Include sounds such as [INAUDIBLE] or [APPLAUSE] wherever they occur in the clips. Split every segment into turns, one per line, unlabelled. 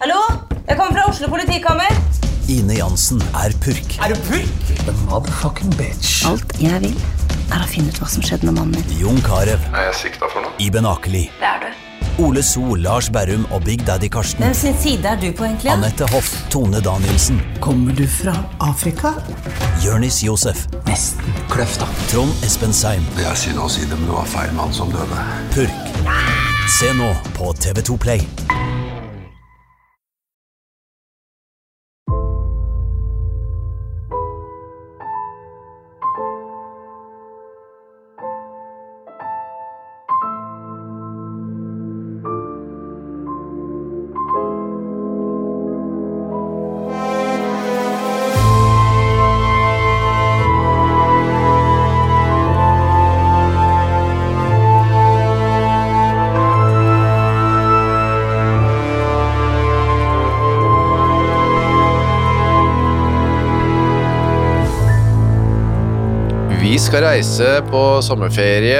Hallo? Jeg kommer fra Oslo politikammer.
Ine Jansen er purk.
Er du purk?
Alt jeg vil, er å finne ut hva som skjedde med mannen min.
Jon Carew,
er jeg sikta for noe?
Iben Akeli. Det er du. Ole So, Lars Berrum og Big Daddy Karsten.
Hvem sin side er du på, egentlig?
Anette Hoff, Tone Danielsen,
Kommer du fra Afrika?
Jørnis Josef,
Nesten. Kløfta.
Trond Espen Seim,
Det er synd å si det, men det var feil mann som døde.
Purk. Se nå på TV2 Play.
Vi skal reise på sommerferie.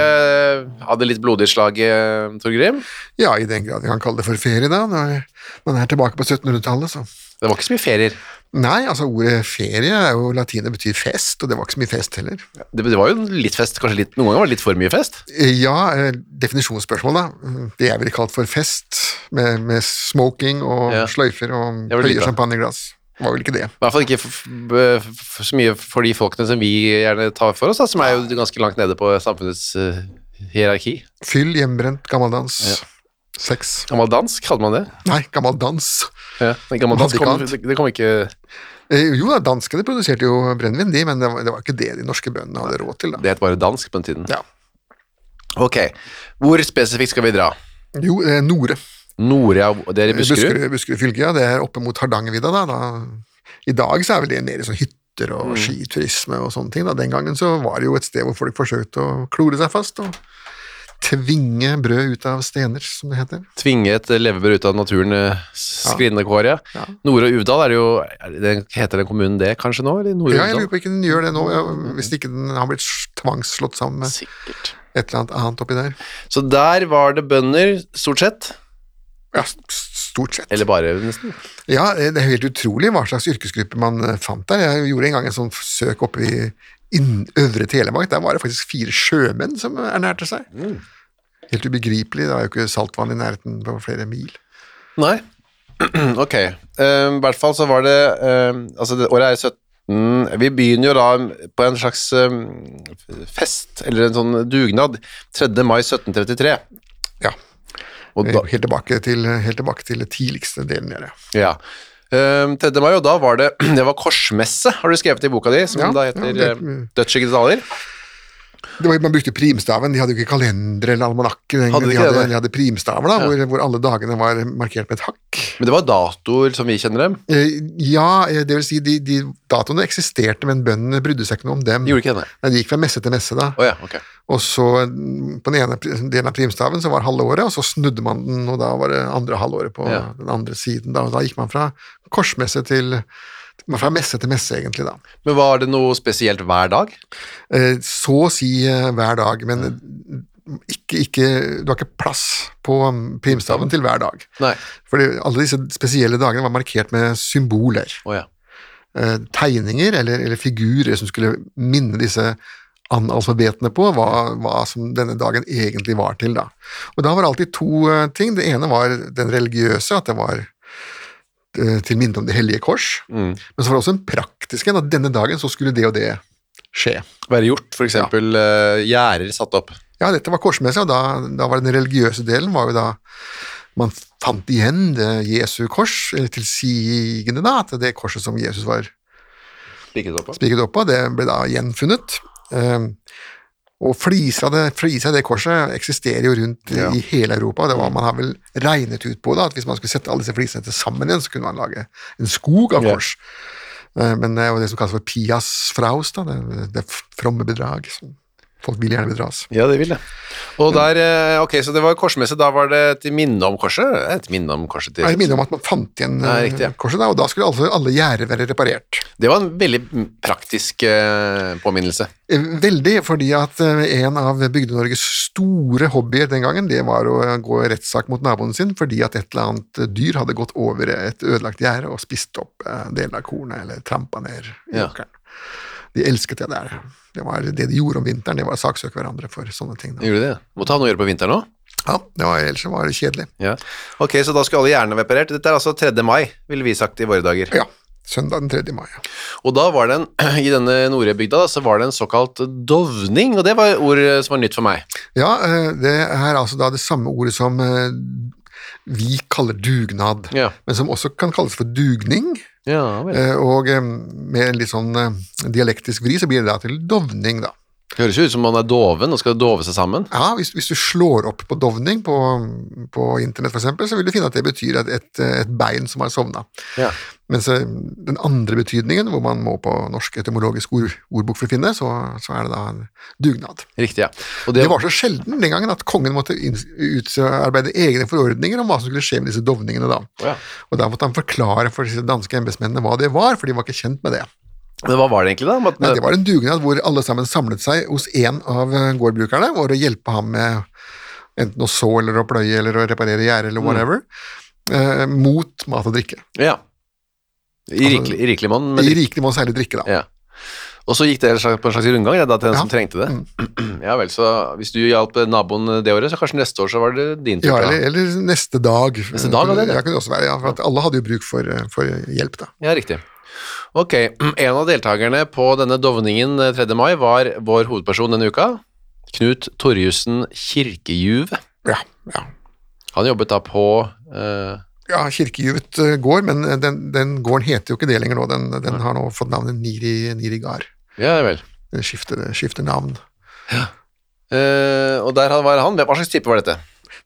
Hadde litt blodig slag, eh, Torgrim.
Ja, i den grad vi kan kalle det for ferie, da. Når man er tilbake på 1700-tallet, så
Det var ikke så mye ferier.
Nei, altså ordet ferie er jo latinet betyr fest, og det var ikke så mye fest heller.
Det, det var jo litt fest, kanskje litt, noen ganger var det litt for mye fest.
Eh, Ja, eh, definisjonsspørsmål, da. Det jeg ville kalt for fest, med, med smoking og
Ja.
sløyfer og
Det var litt
høye
bra.
champagneglass. Var vel ikke det.
I hvert fall ikke f b- f så mye for de folkene som vi gjerne tar for oss, da, som er jo ganske langt nede på samfunnets eh, hierarki.
Fyll, hjemmebrent, gammeldans. Sex.
Gammel dansk, hadde man det?
Nei, gammeldans.
Ja, men gammel
Hadde
dansk
ikke
kom, det, det kom ikke
Eh, Jo da, danskene produserte jo brennevin, de, men det var, det var ikke det de norske bøndene hadde råd til, da.
Det het bare dansk på den tiden.
Ja.
Ok. Hvor spesifikt skal vi dra?
Jo, eh, Nore.
Norea, det er i Eh, Buskerud?
Buskerud, Buskerud fylke, ja. Det er oppe mot Hardangervidda, da. da. I dag så er vel det mer sånn hytter og
Mm.
skiturisme og sånne ting. Da. Den gangen så var det jo et sted hvor folk forsøkte å klore seg fast og tvinge brød ut av stener, som det heter.
tvinge et levebrød ut av naturen eh, skrinne kår, ja.
Ja.
Nore og Uvdal er det jo er det, Heter den kommunen det kanskje nå? Eller Nore
Ja, jeg lurer
Uvdal?
på ikke den gjør det nå, ja,
Mm.
hvis ikke den har blitt tvangsslått sammen med
Sikkert.
et eller annet annet oppi der.
Så der var det bønder, stort sett.
Ja, s- stort sett.
Eller bare, nesten.
Ja, eh, det er helt utrolig hva slags yrkesgruppe man eh, fant der. Jeg gjorde en gang en sånn søk oppe i inn, Øvre Telemark. Der var det faktisk fire sjømenn som ernærte seg.
Mm.
Helt ubegripelig. Det var jo ikke saltvann i nærheten på flere mil.
Nei. [CLEARS THROAT] ok. Ehm, I hvert fall så var det ehm, Altså, det, året er 17 Vi begynner jo da på en slags ehm, fest, eller en sånn dugnad, 3. mai 1733.
Ja,
Og da,
helt tilbake til, helt tilbake til det tidligste delen der, ja.
Ja. Ehm, 3. mai, og da var det [CLEARS THROAT] Det var korsmesse, har du skrevet i boka di, som
Ja,
da
ja,
heter ja,
det-
Dødsskygge detaljer.
Det var, man brukte primstaven. De hadde jo ikke kalender eller almanakker. den
Hadde
gangen.
de
De,
ikke det,
hadde-
nei?
de hadde primstaver, da, hvor, hvor alle dagene var markert med et hakk.
Men det var datoer som vi kjenner dem.
Eh, Ja, eh, det vil si, de, de datoene eksisterte, men bøndene brydde seg ikke noe om dem.
De gjorde ikke det, nei.
Nei, de gikk fra messe til messe, da.
Å ja, ok.
Og så mm, på den ene pri- delen av primstaven så var halve året, og så snudde man den, og da var det andre halvåret på
Ja.
den andre siden. Da, og da gikk man fra korsmesse til man fra messe til messe, egentlig, da.
Men var det noe spesielt hver dag?
Eh, Så å si eh, hver dag, men ikke, ikke, du har ikke plass på mm, primstaven til hver dag.
Nei.
Fordi alle disse spesielle dagene var markert med symboler.
Å ja.
eh, tegninger eller, eller figurer som skulle minne disse analfabetene på hva, hva som denne dagen egentlig var til. Da. Og da var det alltid to eh, ting. Det ene var den religiøse, at det var eh, til minne om Det hellige kors. Men så var det også en praktisk en, at denne dagen så skulle det og det skje.
Være gjort, for eksempel eh, gjerder satt opp.
Ja, dette var korsmessa, og da, da var den religiøse delen var jo da man fant igjen det Jesu kors, eh, tilsigende da, at det korset som Jesus var
Spikret opp på.
spikret opp av. Det ble da gjenfunnet. Eh, Og flisa det, flisa i det korset eksisterer jo rundt i-
Ja. Mm.
i hele Europa. Det var, man har vel regnet ut på det, at hvis man skulle sette alle disse flisene til sammen igjen, så kunne man lage en skog av
Ja.
kors. Eh, Men det er jo det som kalles for pias fraus, da, det, det fromme bedrag. som Folk vil gjerne bedras.
Ja, det vil jeg. Og der, eh, ok, så det var korsmesse, da var det til minne om korset? Det er Et minne om korset til
Ja, Jeg minner om at man fant igjen
Nei,
eh,
riktig, ja.
korset, da, og da skulle altså alle gjerder være reparert.
Det var en veldig praktisk eh, påminnelse.
Eh, Veldig, fordi at eh, en av Bygde-Norges store hobbyer den gangen, det var å eh, gå i rettssak mot naboen sin fordi at et eller annet eh, dyr hadde gått over et ødelagt gjerde og spist opp eh, deler av kornet, eller trampa ned i
Ja.
åkeren. De elsket det der. Det var det de gjorde om vinteren, det var å saksøke hverandre for sånne ting. Da.
Gjorde det? Måtte ha noe å gjøre på vinteren òg.
Ja, det var, ellers så var det kjedelig.
Ja. Ok, så da skulle alle hjernene være reparert. Dette er altså 3. mai, ville vi sagt i våre dager.
Ja, søndag den 3. mai. ja.
Og da var det en, [CLEARS THROAT] i denne Nordøybygda, da, så var det en såkalt dovning, og det var ord eh, som var nytt for meg.
Ja, eh, det er altså da det samme ordet som eh, vi kaller dugnad,
Ja.
men som også kan kalles for dugning.
Ja, vel.
Eh, Og eh, med en litt sånn eh, dialektisk vri, så blir det da til dovning, da.
Det høres jo ut som man er doven og skal dove seg sammen.
Ja, hvis, hvis du slår opp på dovning på, på internett, for eksempel, så vil du finne at det betyr et, et, et bein som har sovna.
Ja.
Mens eh, den andre betydningen, hvor man må på norsk etymologisk ord, ordbok for å finne, så, så er det da en dugnad.
Riktig, ja. Og
Det var så sjelden den gangen at kongen måtte inn- utarbeide egne forordninger om hva som skulle skje med disse dovningene, da.
Ja.
Og da måtte han forklare for disse danske embetsmennene hva det var, for de var ikke kjent med det.
Men hva var det egentlig, da? Om at-
Nei, det var en dugnad hvor alle sammen samlet seg hos én av eh, gårdbrukerne for å hjelpe ham med enten å så eller å pløye eller å reparere gjerde
Mm.
eller whatever, eh, mot mat og drikke.
Ja. I rikelig, i rikelig mann, men
Altså, I rikelig må særlig drikke, da.
Ja. Og så gikk det en slags- på en slags rundgang ja, da, til
Ja.
den
Mm.
som trengte det. [CLEARS THROAT] Ja vel, så hvis du hjalp eh, naboen det året, så kanskje neste år så var det din tur.
Ja,
da.
eller, eller neste dag.
Neste dag, var det
Ja,
det?
kunne det også være, ja, for at alle hadde jo bruk for, eh, for hjelp, da.
ja riktig. Ok, [CLEARS THROAT] en av deltakerne på denne dovningen eh, 3. mai var vår hovedperson denne uka, Knut Torjussen Kirkejuve.
Ja, ja.
Han jobbet da på eh,
ja Kirkejuvet eh, gård, men eh, den, den gården heter jo ikke det lenger nå. Den, den har nå fått navnet Niri, Niri Gard.
Ja vel.
Den skifter, skifter navn.
Eh, og der han var han. Hva slags type var dette?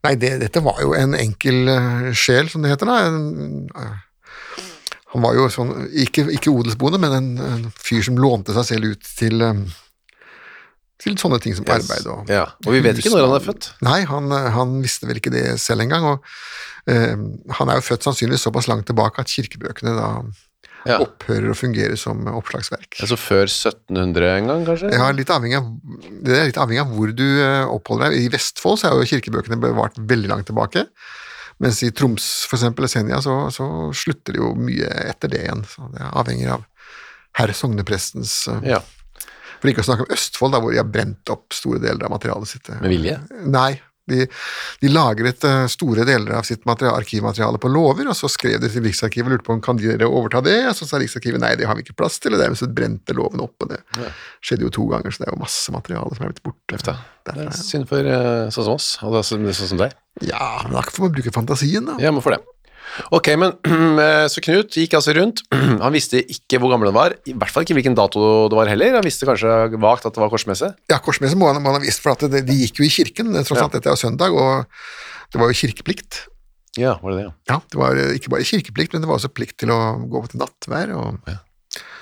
Nei, det, dette var jo en enkel eh, sjel, som det heter da. En, eh, han var jo sånn, ikke, ikke odelsbonde, men en, en fyr som lånte seg selv ut til, eh, til sånne ting som arbeid og
Ja, Og vi vet ikke når han er født.
Nei, han, eh, han visste vel ikke det selv engang. Og eh, han er jo født sannsynligvis såpass langt tilbake at kirkebøkene da
Ja.
opphører å fungere som oppslagsverk.
Altså før 1700 en gang, kanskje?
Ja, litt avhengig av, det er litt avhengig av hvor du eh, oppholder deg. I Vestfold så er jo kirkebøkene bevart veldig langt tilbake, mens i Troms for eksempel, og Senja, så, så slutter det jo mye etter det igjen. Så det avhenger av herr sogneprestens eh,
Ja.
For ikke å snakke om Østfold, da, hvor de har brent opp store deler av materialet sitt. eh.
Med vilje?
Nei. De, de lagret eh, store deler av sitt materia- arkivmateriale på låver, og så skrev de til Riksarkivet og lurte på om kan dere overta det, og så sa Riksarkivet nei, det har vi ikke plass til, og dermed så brente låven opp, og det skjedde jo to ganger, så det er jo masse materiale som er blitt borte.
da. Det
Derfra,
er
ja.
synd for eh, sånn som oss, og det er sånn, det er sånn som deg.
ja, men da får man bruke fantasien, da.
Ja, men for det. Ok, men [CLEARS THROAT] eh, så Knut gikk altså rundt. [CLEARS THROAT] Han visste ikke hvor gammel han var, i hvert fall ikke hvilken dato det var heller. Han visste kanskje vagt at det var korsmesse.
Ja, korsmesse må man, man ha visst, for at det, de gikk jo i kirken, tross alt dette er jo søndag, og det var jo kirkeplikt.
Ja, var det det, ja.
Ja, det var eh, ikke bare kirkeplikt, men det var også plikt til å gå til nattvær og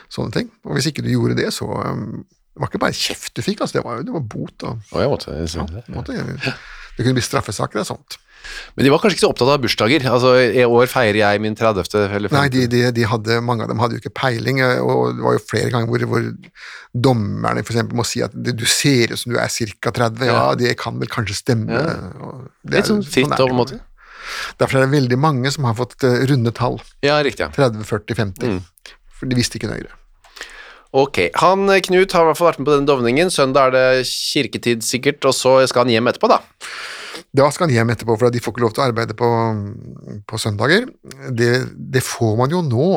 sånne ting. Og hvis ikke du gjorde det, så um, det var ikke bare kjeft du fikk, altså, det var, jo- det var bot og
Å, jeg måtte, jeg
ja,
synes
på
det.
en måte, Det kunne bli straffesaker og sånt.
Men de var kanskje ikke så opptatt av bursdager. Altså, i år feirer jeg min 30. eller 50.
Nei, de, de, de hadde, mange av dem hadde jo ikke peiling, eh, og det var jo flere ganger hvor, hvor dommerne for eksempel må si at du ser ut som du er ca. 30, ja,
Ja.
det kan vel kanskje stemme.
Ja.
og det
Litt
er jo-
sånn fritt
er
da, på
det
en
jo.
måte.
Derfor er det veldig mange som har fått eh, runde tall,
Ja, riktig, ja.
30, 40, 50,
Mm.
for de visste ikke nøyere.
Ok, han eh, Knut har i hvert fall vært med på denne dovningen. Søndag er det kirketid sikkert, og så skal han hjem etterpå, da.
Da skal han hjem etterpå, for de får ikke lov til å arbeide på, på søndager. Det, det får man jo nå.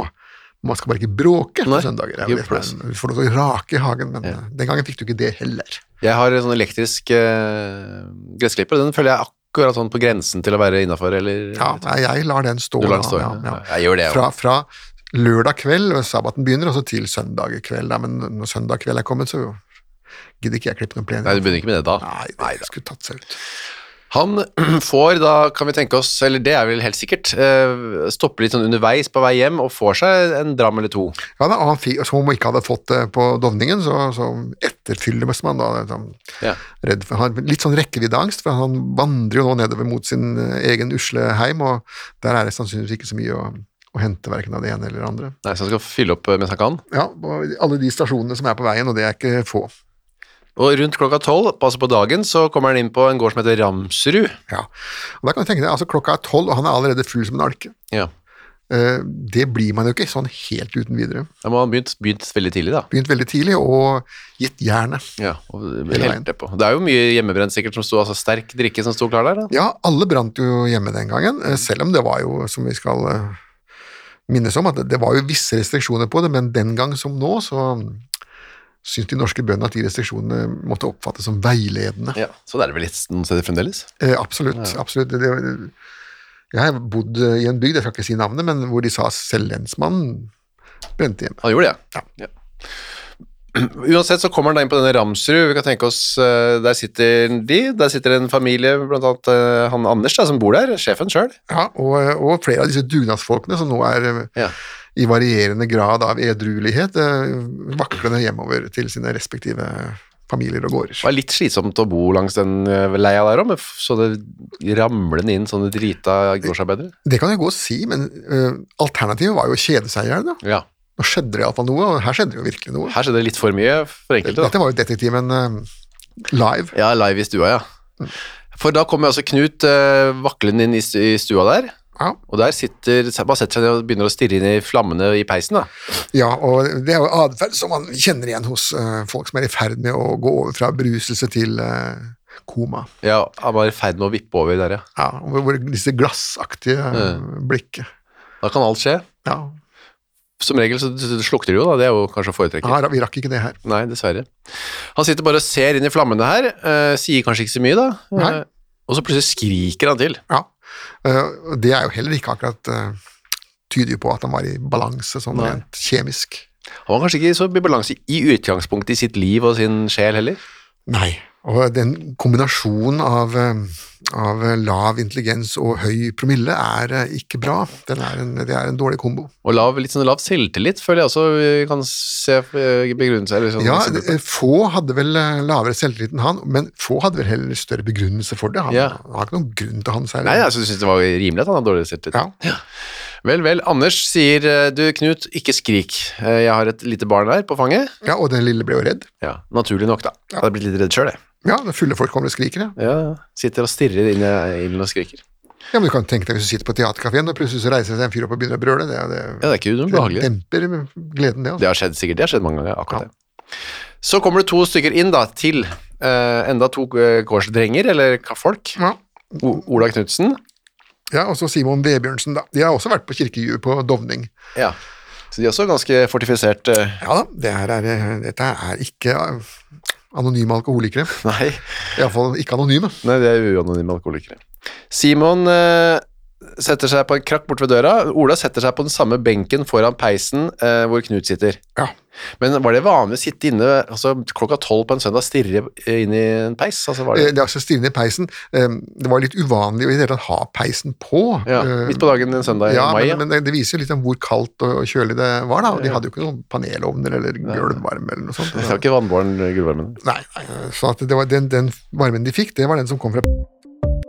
Man skal bare ikke bråke
Nei,
på søndager. Det
ikke
er jo det
plass.
som er- Du får lov til å rake i hagen, men eh, den gangen fikk du ikke det heller.
Jeg har sånn elektrisk eh, gressklipper, og den føler jeg akkurat sånn på grensen til å være innafor, eller
Ja, nei, jeg lar den stå.
Du lar den
da,
stå, ja. Jeg gjør det, jeg
fra, fra lørdag kveld, og sabbaten begynner, og så til søndag kveld. Da. Men når søndag kveld er kommet, så Gidder ikke jeg klippe noen plen.
Nei, du begynner ikke med det da.
Nei, det skulle tatt seg ut.
Han [CLEARS THROAT] får da, kan vi tenke oss, eller det er vel helt sikkert, eh, stopper litt sånn underveis på vei hjem og får seg en dram eller to.
Ja, da, og han fikk, Som hun ikke hadde fått det på Dovningen, så, så etterfyller man da liksom,
Ja.
redd for, har Litt sånn rekkeviddeangst, for han vandrer jo nå nedover mot sin eh, egen usle heim, og der er det sannsynligvis ikke så mye å, å hente, verken av det ene eller det andre.
Nei, så han skal fylle opp eh, mens han kan.
Ja, og alle de stasjonene som er på veien, og det er ikke få.
Og rundt klokka tolv, altså på dagen, så kommer han inn på en gård som heter Ramsrud.
Ja. Og da kan du tenke deg, altså Klokka er tolv, og han er allerede full som en alke.
Ja.
Eh, Det blir man jo ikke sånn helt uten videre.
Da må han begynt, begynt veldig tidlig, da.
Begynt veldig tidlig, og gitt jernet.
Ja, og
veien.
helt det på. Det er jo mye hjemmebrent sikkert som sto, altså sterk drikke som sto klar der, da.
Ja, alle brant jo hjemme den gangen,
Mm.
eh, selv om det var jo, som vi skal eh, minnes om, at det- det var jo visse restriksjoner på det, men den gang som nå, så mm, syntes de norske bøndene at de restriksjonene måtte oppfattes som veiledende.
Ja, så det er det vel litt noen steder fremdeles.
Eh, absolutt. absolutt. Det, det, jeg har bodd i en bygd, jeg skal ikke si navnet, men hvor de sa selv lensmannen brente hjemme.
Han gjorde det, ja. [CLEARS THROAT] ja. Uansett så kommer han da inn på denne Ramsrud, vi kan tenke oss, eh, der sitter de, der sitter en familie, blant annet eh, han Anders da, som bor der, sjefen selv.
Ja, og, eh, og flere av disse dugnadsfolkene som nå er eh,
Ja.
i varierende grad av edruelighet, eh, vaklende hjemover til sine respektive familier og gårder.
Det var litt slitsomt å bo langs den eh, leia der også, med f- sånne ramlende inn sånne drita gårdsarbeidere.
Det kan jeg gå og si, men eh, alternativet var jo å kjede seg i hjel. da.
Ja,
Nå skjedde det iallfall noe, og her skjedde det jo virkelig noe.
her skjedde det litt for mye for enkelte da.
Dette var jo detektimen eh, live.
Ja, live i stua, ja. For da kommer altså Knut eh, vaklende inn i stu- i stua der,
Ja.
og der sitter, bare setter seg ned og begynner å stirre inn i flammene i peisen da.
Ja, og det er jo atferd som man kjenner igjen hos eh, folk som er i ferd med å gå over fra beruselse til eh, koma.
Ja, han var i ferd med å vippe over der, ja.
Ja, hvor, hvor disse glassaktige eh, blikket.
Da kan alt skje.
Ja.
Som regel så slukter det jo da, det er jo kanskje å foretrekke.
ja, vi rakk ikke det her.
Nei, dessverre. Han sitter bare og ser inn i flammene her, eh, sier kanskje ikke så mye da.
Nei.
Eh, og så plutselig skriker han til.
Ja. Eh, og det er jo heller ikke akkurat eh, Tyder jo på at han var i balanse, sånn
Nei.
rent kjemisk.
Han var kanskje ikke så i balanse i utgangspunktet i sitt liv og sin sjel heller.
Nei. Og den kombinasjonen av, eh, av lav intelligens og høy promille er eh, ikke bra. Den er en, det er en dårlig kombo.
Og lav, litt sånn lav selvtillit, føler jeg også eh, kan se eh, begrunnelse. eller Sånn,
Ja,
eksempel på.
eh, Få hadde vel eh, lavere selvtillit enn han, men få hadde vel heller større begrunnelse for det. Han,
Ja.
han har ikke noen grunn til å ha den
Nei, altså.
særlig.
jeg synes det var rimelig at han hadde dårlig selvtillit.
Ja.
Vel, vel, Anders sier, eh, du Knut, ikke skrik. Eh, Jeg har et lite barn der på fanget.
ja, og den lille ble jo redd.
Ja, naturlig nok da. Jeg hadde blitt litt redd selv, jeg.
Ja, det fulle folk kommer og skriker. Ja.
Ja, sitter og stirrer inn i ilden og skriker.
ja, men du kan tenke deg hvis du sitter på teaterkafeen, og plutselig så reiser seg en fyr opp og begynner å brøle. Det, er- det,
Ja, det er ikke
det
ubehagelig.
demper gleden, det. Altså.
Det har skjedd sikkert, det har skjedd mange ganger, akkurat det. Så kommer det to stykker inn da, til eh, enda to eh, gårdsdrenger, eller ka- folk.
Ja.
O Ola Knudsen.
Ja, og så Simon Vebjørnsen, da. De har også vært på kirkejue på Dovning.
Ja. Så de er også ganske fortifisert. eh,
Ja da, det her er, eh, dette er ikke eh, anonyme alkoholikere.
[LAUGHS] nei.
Iallfall ikke anonyme.
Nei, de er uanonyme alkoholikere. Simon eh, setter seg på en krakk bort ved døra. Ola setter seg på den samme benken foran peisen eh, hvor Knut sitter.
Ja.
Men var det vanlig å sitte inne altså, klokka tolv på en søndag stirre eh, inn i en peis? Altså, var
Eh,
det,
Det er altså stivne i peisen. Eh, Det var litt uvanlig å i det hele tatt ha peisen på.
ja,
Eh,
midt på dagen en søndag i
Ja,
mai. ja.
men, men det viser jo litt om hvor kaldt og kjølig det var, da. Og de hadde jo ikke noen panelovner eller gulvvarme eller noe sånt.
Det var ikke vannbåren eh, gullvarmen.
Nei, nei, så at det var den, den varmen de fikk, det var den som kom fra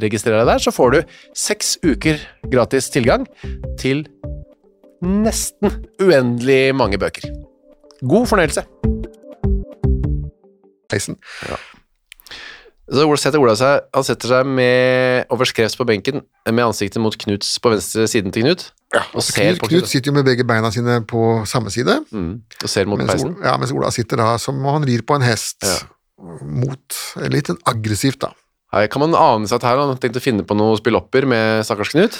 Registrer deg der, så får du seks uker gratis tilgang til nesten uendelig mange bøker. God fornøyelse!
Heisen.
Så Ola- setter Ola seg, han setter seg med overskrevs på benken, med ansiktet mot Knuts på venstre siden til Knut, og, ser
Knut,
på
Knut
Knut,
sitter jo med begge beina sine på samme side,
mm, og ser mot
mens
peisen.
Ola, ja, mens Ola sitter da som om han rir på en hest.
Ja.
Mot Litt sånn aggressivt, da.
Her kan man ane seg at her har han tenkt å finne på noen spillopper med stakkars Knut.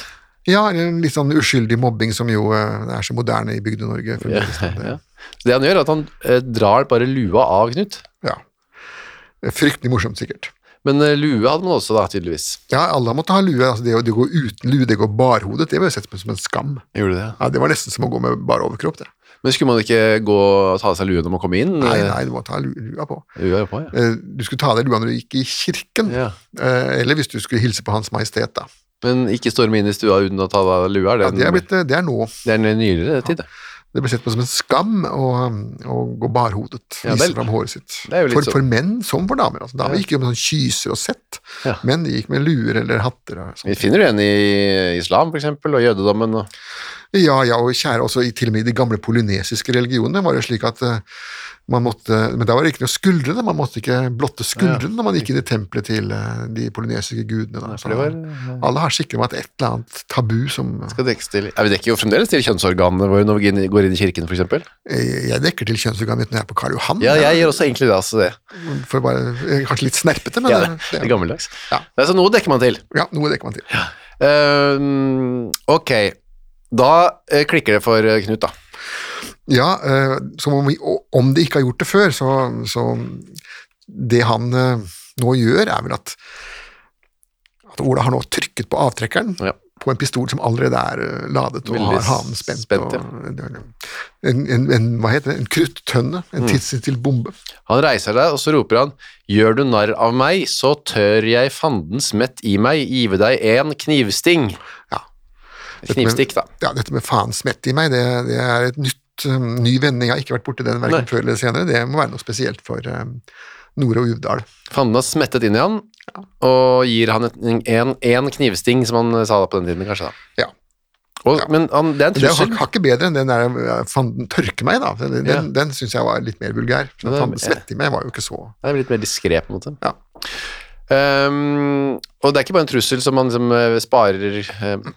Ja, eller en litt sånn uskyldig mobbing som jo eh, er så moderne i Bygde-Norge.
Ja,
fremdeles, da. Det-
[LAUGHS]
sånn.
ja. Det han gjør, er at han eh, drar bare lua av Knut.
ja. Fryktelig morsomt, sikkert.
Men eh, lue hadde man også da, tydeligvis.
Ja, alle har måttet ha lue. Altså, det, å- det å gå uten lue, det å gå barhodet, det ble jo sett på som en skam.
Gjorde det?
Ja, Det var nesten som å gå med bare overkropp, det.
Men skulle man ikke gå og ta av seg lue når man kom inn?
Nei, nei, du må ta lu- lua på.
Lua er
[LAUGHS]
på, ja.
Eh, Du skulle ta av deg lua når du gikk i kirken,
ja.
eh, eller hvis du skulle hilse på Hans Majestet, da.
Men ikke storme inn i stua uten å ta av deg lua, er det,
Ja, det, er blitt, eh, det er nå.
det er en nyere tid, det.
Det ble sett på som en skam å, um, å gå barhodet,
Ja,
vise
vel.
fram håret sitt.
Det er jo litt
For,
så-
for menn som for damer. Altså, damer
Ja.
gikk jo med sånn kyser og sett,
Ja.
menn gikk med luer eller hatter. Og sånn. sånt.
Vi finner jo en i islam, for eksempel, og jødedommen. Og...
Ja, ja, og kjære, også i, til og med i de gamle polynesiske religionene var det slik at eh, man måtte Men da var det ikke noe skuldrene, man måtte ikke blotte skuldrene når man gikk inn i tempelet til eh, de polynesiske gudene. Da.
for det var-
Så alle har sikkert vært et eller annet tabu som
Skal dekkes til... Ja, vi dekker jo fremdeles til kjønnsorganene våre når vi gin- går inn i kirken, for eksempel.
eh, Jeg dekker til kjønnsorganet mitt når jeg er på Karl Johan.
Ja,
da.
jeg gjør også egentlig det, altså det.
For å bare, eh, kanskje litt snerpete, men
Ja,
eh,
det, det er gammeldags.
Ja.
Nei, så noe dekker man til.
ja, noe dekker man til.
Ehm, ok, da eh, klikker det for eh, Knut, da.
Ja, eh, som om, vi, og om de ikke har gjort det før, så, så Det han eh, nå gjør, er vel at, at Ola har nå trykket på avtrekkeren
Ja.
på en pistol som allerede er eh, ladet og
Veldig
har hanen spent.
spent, ja. Mm.
og, en, en, en, hva heter det, en kruttønne, en tidsinnstilt bombe.
Han reiser deg, og så roper han Gjør du narr av meg, så tør jeg fandens mett i meg give deg en knivsting.
Ja.
Knivstikk, da.
Ja, dette med faen smett i meg, det, det er et nytt, eh, ny vending. Jeg har ikke vært borti den
Nei.
verken før eller senere. Det må være noe spesielt for eh, Nore og Uvdal.
Fanden har smettet inn i han, og gir han et, en, en knivsting, som han eh, sa da på den tiden, kanskje. da.
Ja.
Og,
Ja.
Men han, det er en
Det er
trussel.
hak- hakket bedre enn den der eh, fanden tørke meg, da. Den,
Ja.
den, den syns jeg var litt mer vulgær. Så
Ja, det er-
Fanden svette i meg var jo ikke så
Det er litt mer diskré, på en måte.
Ja.
Ehm, og det er ikke bare en trussel som man liksom, eh, sparer eh,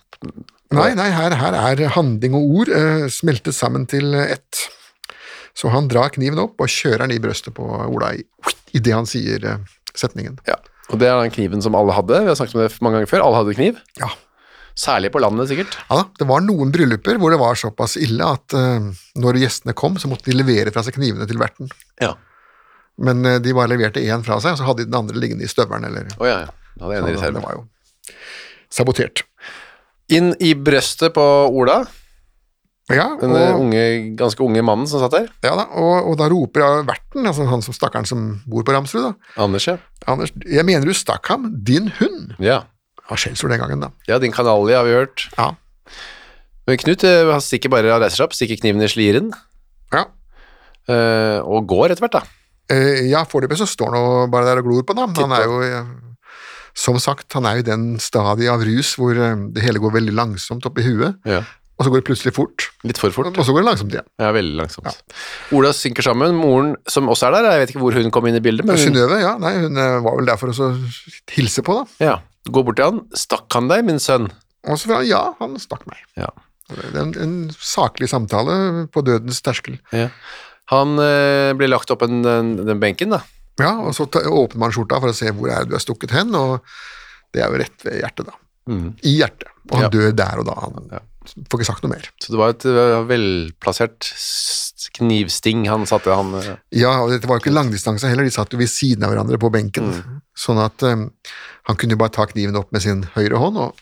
Nei, nei, her, her er handling og ord eh, smeltet sammen til ett. Så han drar kniven opp og kjører den i brøstet på Ola i- idet han sier eh, setningen.
ja. Og det er den kniven som alle hadde. Vi har snakket om det mange ganger før. Alle hadde kniv.
Ja.
Særlig på landet, sikkert.
Ja da, det var noen brylluper hvor det var såpass ille at eh, når gjestene kom, så måtte de levere fra seg knivene til verten.
Ja.
Men eh, de bare leverte én fra seg, og så hadde de den andre liggende i støvelen eller
Å ja, ja. Da
Så Det
hadde jeg en i reserve.
var jo sabotert.
Inn i brøstet på Ola,
Ja,
den eh, unge, ganske unge mannen som satt der.
Ja da, og, og da roper jeg verten, altså han som stakkaren som bor på Ramsrud, da.
Anders, ja.
Anders, jeg mener du stakk ham, din hund.
Ja,
Ja, skjellsord den gangen, da.
ja din kanalje har vi hørt.
Ja.
Men Knut eh, han stikker bare han reiser seg opp, stikker kniven i sliren,
Ja,
eh, og går etter hvert, da.
eh, ja foreløpig så står han jo bare der og glor på den. da. Han
Titt
er jo, eh, som sagt, han er jo i den stadiet av rus hvor eh, det hele går veldig langsomt opp i huet, og så går det plutselig fort,
Litt for fort.
og så går det langsomt igjen.
Ja, veldig langsomt. Ola synker sammen. Moren, som også er der, jeg vet ikke hvor hun kom inn i bildet, men hun
Synnøve, ja, nei, hun eh, var vel der for å så hilse på, da.
ja, går bort til han. 'Stakk han deg, min sønn?'
Og så var han, ja, han stakk meg.
Ja.
Det er en, en saklig samtale på dødens terskel.
Han eh, ble lagt opp en, den, den benken, da.
Ja, og så ta, åpner man skjorta for å se hvor er det du er stukket hen, og det er jo rett ved hjertet, da. I hjertet. Og han
Mm. Ja.
dør der og da. Han får ikke sagt noe mer.
Så det var et eh, velplassert s- knivsting han satte han eh,
Ja, og dette var jo ikke langdistanse heller, de satt jo ved siden av hverandre på benken.
Mm.
Sånn at eh, han kunne jo bare ta kniven opp med sin høyre hånd og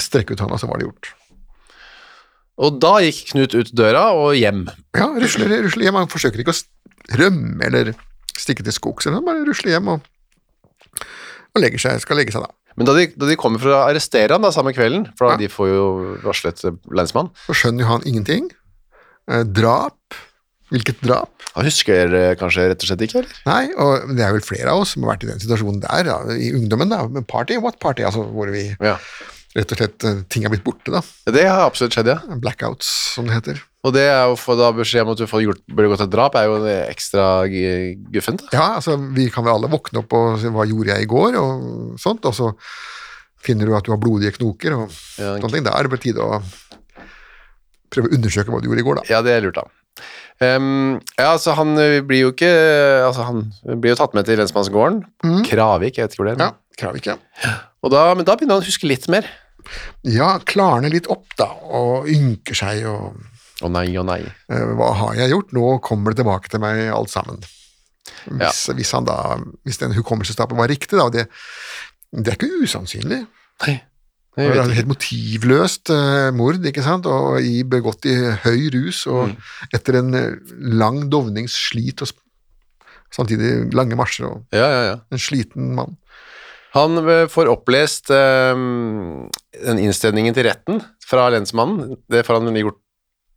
strekke ut hånda, så var det gjort.
Og da gikk Knut ut døra og hjem.
Ja, rusler, rusler hjem. Han forsøker ikke å st- rømme eller stikke til skogs, eller han bare rusler hjem og, og legger seg, skal legge seg da.
Men da de, da de kommer for å arrestere han da samme kvelden, for da,
Ja.
de får jo varslet eh, lensmann
Så skjønner jo han ingenting. Eh, drap, Hvilket drap?
Han husker eh, kanskje rett og slett ikke, eller?
Nei, og men det er vel flere av oss som har vært i den situasjonen der, da, i ungdommen, da, med party, what party, altså hvor vi
Ja.
rett og slett eh, ting har blitt borte, da.
Det har absolutt skjedd, ja.
Blackouts, som det heter.
Og det å få da beskjed om at du får gjort, burde gått et drap, er jo en ekstra g- guffent. da.
Ja, altså vi kan vel alle våkne opp og si hva gjorde jeg i går, og sånt, og så finner du at du har blodige knoker og
Ja,
sånne ting. Da er det på tide å prøve å undersøke hva du gjorde i går, da.
Ja, det er lurt, da. Ehm, ja, altså han eh, blir jo ikke Altså han blir jo tatt med til lensmannsgården. Kravik, jeg vet ikke hvor det er.
Ja, krav ikke.
Og da, men da begynner han å huske litt mer.
Ja, klarne litt opp, da, og ynker seg og
Å nei, å nei.
Eh, Hva har jeg gjort? Nå kommer det tilbake til meg alt sammen. Hvis, hvis, han da, hvis den hukommelsestappen var riktig, da, og det, det er ikke usannsynlig. Det
Jeg
er
vet
et
ikke.
helt motivløst eh, mord, ikke sant, og i, begått i høy rus, og etter en eh, lang dovnings slit og sp- samtidig lange marsjer og
Ja, ja, ja.
en sliten mann.
Han eh, får opplest ehm, den innstedningen til retten fra lensmannen. Det får han gjort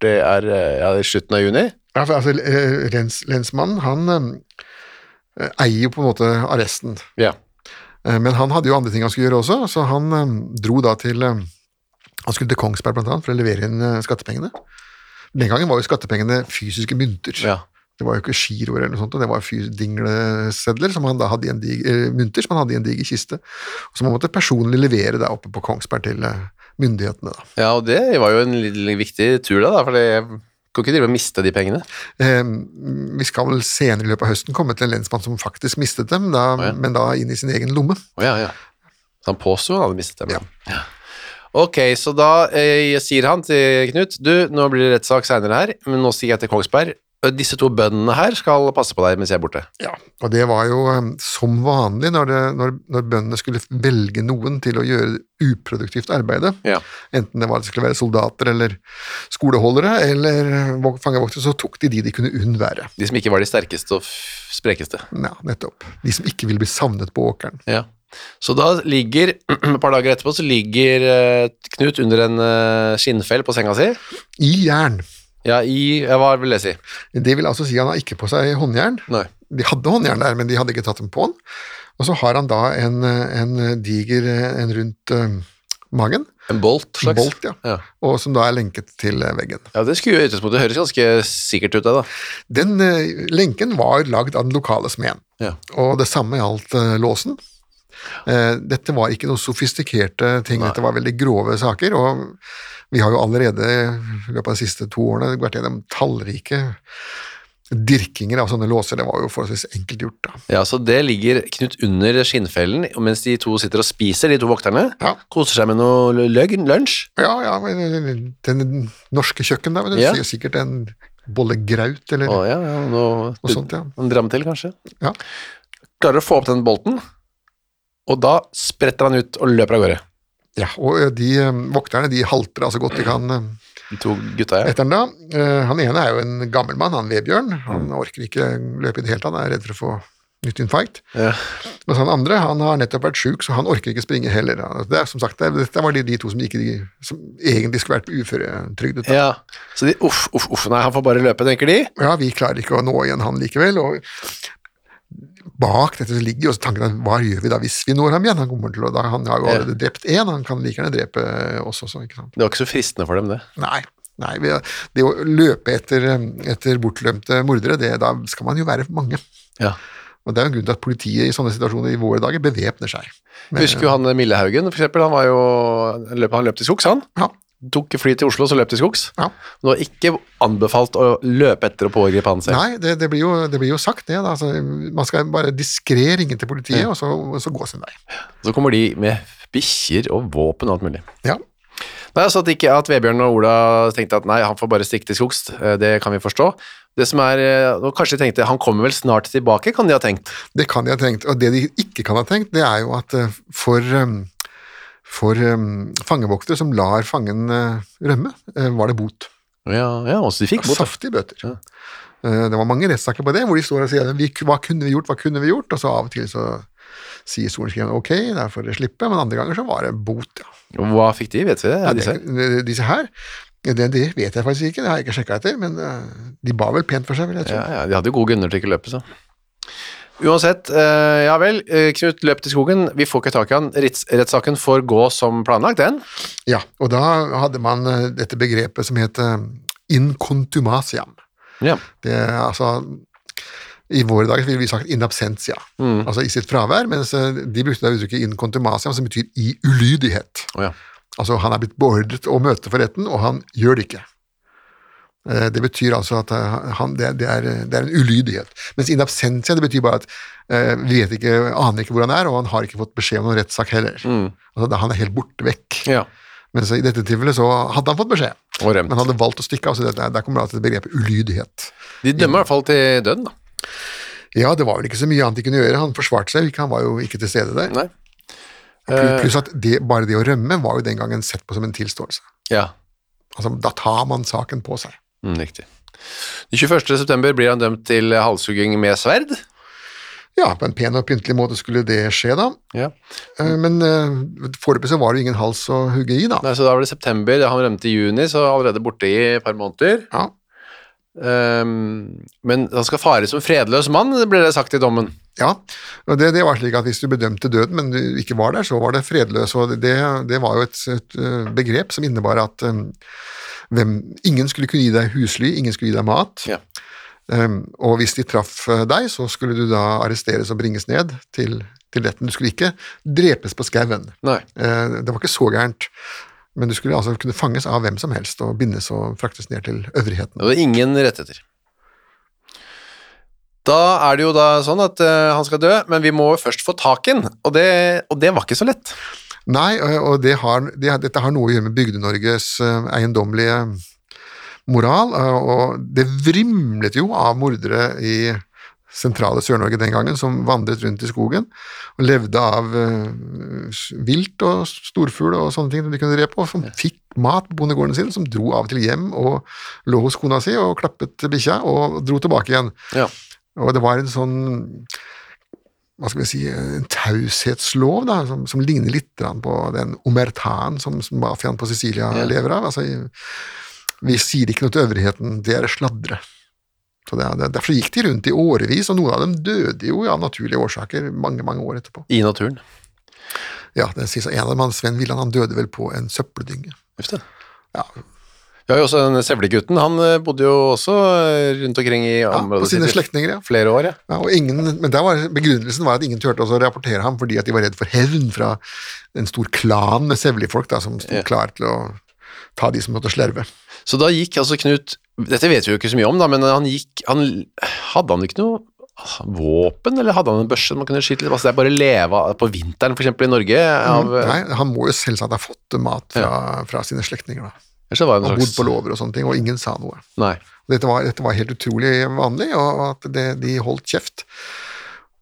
det er eh, ja, i slutten av juni.
Ja, for, altså, eh, lens, lensmannen, han eh, eier jo på en måte arresten.
Ja.
Eh, Men han hadde jo andre ting han skulle gjøre også, så han eh, dro da til eh, Han skulle til Kongsberg blant annet for å levere inn eh, skattepengene. Den gangen var jo skattepengene fysiske mynter.
ja.
Det var jo ikke giroer eller noe sånt, og det var fys- dinglesedler som han da hadde i en dig, eh, mynter som han hadde i en diger kiste, og som han måtte personlig levere der oppe på Kongsberg til eh, myndighetene. da.
Ja, og det var jo en litt viktig tur da, da, for jeg kunne ikke drive og miste de pengene.
Eh, Vi skal vel senere i løpet av høsten komme til en lensmann som faktisk mistet dem, da,
ja.
men da inn i sin egen lomme.
Å ja, ja. Så han påstod han hadde mistet dem. Ja. Ok, så da eh, sier han til Knut, du, nå blir det rettssak senere her, men nå stikker jeg til Kongsberg. Og Disse to bøndene her skal passe på deg mens jeg er borte.
Ja, og det var jo eh, som vanlig når, det, når, når bøndene skulle velge noen til å gjøre uproduktivt arbeide,
Ja.
enten det var at det skulle være soldater eller skoleholdere eller vok- fangevoktere, så tok de de de kunne unnvære.
De som ikke var de sterkeste og f- sprekeste.
Ja, nettopp. De som ikke ville bli savnet på åkeren.
Ja. Så da ligger, [CLEARS THROAT] et par dager etterpå, så ligger eh, Knut under en eh, skinnfell på senga si.
I jern.
Ja, i, ja, hva vil det si?
Det vil altså si han har ikke på seg håndjern.
Nei.
De hadde håndjern der, men de hadde ikke tatt dem på han. Og så har han da en, eh, en diger eh, en rundt eh, magen,
En bolt slags?
bolt, ja.
Ja.
og som da er lenket til eh, veggen.
Ja, det skulle jo i utgangspunktet høres ganske sikkert ut, det da.
Den eh, lenken var lagd av den lokale smeden,
Ja.
og det samme gjaldt eh, låsen. Eh, dette var ikke noen sofistikerte ting, dette var veldig grove saker, og vi har jo allerede i løpet av de siste to årene vært gjennom tallrike dirkinger av sånne låser, det var jo forholdsvis enkelt gjort da.
Ja, så det ligger Knut under skinnfellen, og mens de to sitter og spiser, de to vokterne.
Ja.
Koser seg med noe lø- løgn, lunsj.
Ja, ja, men eh, den norske kjøkken da, men det
Ja.
sier sikkert en bolle graut, eller
Å ja, ja, noe,
noe sånt, ja.
En dram til, kanskje.
Ja.
Klarer å få opp den bolten, og da spretter han ut og løper av gårde.
Ja, og eh, de eh, vokterne, de halter altså godt de kan... eh,
De to gutta, ja.
etter den da. Eh, Han ene er jo en gammel mann, han Vebjørn. Han
Mm.
orker ikke løpe i det hele tatt, han er redd for å få nytt infarkt.
Ja.
Mens han andre han har nettopp vært sjuk, så han orker ikke springe heller. Han- Det er, som sagt, det er, dette var de, de to som, ikke, de, som egentlig skulle vært uføretrygdet.
ja. Så de, uff, uff, uff, nei, han får bare løpe, tenker de.
Ja, vi klarer ikke å nå igjen han likevel. og Bak dette så ligger jo også tanken at hva gjør vi da hvis vi når ham igjen? Han kommer til å, da, han har jo
Ja.
allerede drept én, han kan like gjerne drepe oss også. ikke sant?
Det var ikke så fristende for dem, det.
Nei. Nei, vi- Det å løpe etter, eh, etter bortlømte mordere, det, da skal man jo være mange.
Ja.
Og Det er jo en grunn til at politiet i sånne situasjoner i våre dager bevæpner seg.
Husker jo han Millehaugen, for eksempel. Han, var jo, han løp, han løp til skogs, han.
Ja,
Tok fly til Oslo, så løp til skogs.
ja.
Det var ikke anbefalt å løpe etter og pågripe han selv.
Nei, det, det, blir jo, det blir jo sagt, det. Da. Altså, man skal bare diskré ringe til politiet, og, så, og så gå sin vei.
Så kommer de med bikkjer og våpen og alt mulig.
Ja.
Nei, altså at, ikke, at Vebjørn og Ola tenkte at nei, han får bare stikke til skogs, eh, det kan vi forstå. Det som er, eh, og Kanskje de tenkte han kommer vel snart tilbake, kan de ha tenkt.
Det kan de ha tenkt. Og det de ikke kan ha tenkt, det er jo at eh, for eh, for eh, fangevoktere som lar fangen eh, rømme, eh, var det bot.
Ja, ja også de fikk bot. da.
Saftige bøter. Eh, Det var mange rettssaker på det, hvor de står og sier vi, hva kunne vi gjort, hva kunne vi gjort, og så av og til så sier sorenskriveren ok, der får dere slippe, men andre ganger så var det bot, ja.
Hva fikk de, vet vi det? Ja, disse.
Disse her, Det, det vet jeg faktisk ikke, det har jeg ikke sjekka etter, men eh, de ba vel pent for seg, vil jeg tro.
Ja, ja, de hadde jo gode grunner til ikke å løpe, så. Uansett, eh, ja vel, eh, Knut løp til skogen, vi får ikke tak i han, Retts- rettssaken får gå som planlagt, den.
Ja, og da hadde man eh, dette begrepet som het eh, incontumasiam.
Ja.
Det er altså I våre dager ville vi sagt in absentia, altså i sitt fravær, mens eh, de brukte da uttrykket in contumasiam, som betyr i ulydighet.
Å, ja.
Altså han er blitt beordret å møte for retten, og han gjør det ikke. Eh, Det betyr altså at eh, han, det, er- det, er, det er en ulydighet. Mens in absentia det betyr bare at eh, vi vet ikke, aner ikke hvor han er, og han har ikke fått beskjed om noen rettssak heller. Altså, da han er helt borte vekk.
ja.
Men så i dette tilfellet så hadde han fått beskjed,
Og rømt.
men han hadde valgt å stikke av. så det, der der kommer da til det begrepet ulydighet.
De dømmer i hvert fall til døden, da.
Ja, det var vel ikke så mye annet de kunne gjøre. Han forsvarte seg jo ikke, han var jo ikke til stede der.
Nei.
Pl- Pluss at det, bare det å rømme var jo den gangen sett på som en tilståelse.
Ja,
Altså, da tar man saken på seg.
mm, riktig. Den 21. september blir han dømt til halshugging med sverd.
Ja, på en pen og pyntelig måte skulle det skje, da.
Ja.
Eh, Men eh, foreløpig så var det jo ingen hals å hugge i, da.
Mm. Nei, så da var det september, da han rømte i juni, så allerede borte i et par måneder.
Ja.
Ehm, men han skal fare som fredløs mann, blir det sagt i dommen.
ja. Og det, det var slik at hvis du bedømte døden, men du ikke var der, så var det fredløs. Og det, det var jo et, et eh, begrep som innebar at eh, hvem, ingen skulle kunne gi deg husly, ingen skulle gi deg mat.
Ja.
Um, og hvis de traff eh, deg, så skulle du da arresteres og bringes ned til, til retten. Du skulle ikke drepes på skauen.
Nei.
Eh, det var ikke så gærent. Men du skulle altså kunne fanges av hvem som helst og bindes og fraktes ned til øvrigheten.
Og det er ingen rettigheter. Da er det jo da sånn at eh, han skal dø, men vi må først få tak i han, og det, og det var ikke så lett.
Nei, og, og det har, det, har- dette har noe å gjøre med Bygde-Norges eh, eiendommelige moral, eh, og det vrimlet jo av mordere i sentrale Sør-Norge den gangen, som vandret rundt i skogen og levde av eh, s- vilt og storfugl og sånne ting som de kunne drepe, og som fikk mat på bondegårdene sine, som dro av og til hjem og lå hos kona si og klappet bikkja og dro tilbake igjen.
Ja.
Og det var en sånn hva skal vi si, en taushetslov da, som, som ligner litt grann på den omertan som, som mafiaen på Sicilia
Ja.
lever av. Altså, vi sier ikke noe til øvrigheten, det er sladre. Så det, det, derfor gikk de rundt i årevis, og noen av dem døde jo av naturlige årsaker mange mange år etterpå.
I naturen.
Ja, den siste, En av dem, han, Sven Villand, han døde vel på en søppeldynge.
Uff da.
Ja,
Vi har jo også den sevlegutten, han eh, bodde jo også eh, rundt omkring i
ja,
området
på sine
sitt i
slektninger, ja.
flere år, ja.
Ja, og ingen, men der var, Begrunnelsen var at ingen turte også å rapportere ham fordi at de var redd for hevn fra en stor klan med sevlefolk da, som sto
Ja.
klar til å ta de som måtte slerve.
Så da gikk altså Knut, dette vet vi jo ikke så mye om da, men han gikk, han, hadde han ikke noe ah, våpen, eller hadde han en børse man kunne skyte litt? Altså det er bare leve av- på vinteren for eksempel i Norge, av, eh,
Mm, Nei, Han må jo selvsagt ha fått mat fra, fra sine slektninger, da,
ellers så var det
og
en
bodd
slags...
på låver og sånne ting, og ingen sa noe.
Nei,
Dette var, dette var helt utrolig vanlig, og at det, de holdt kjeft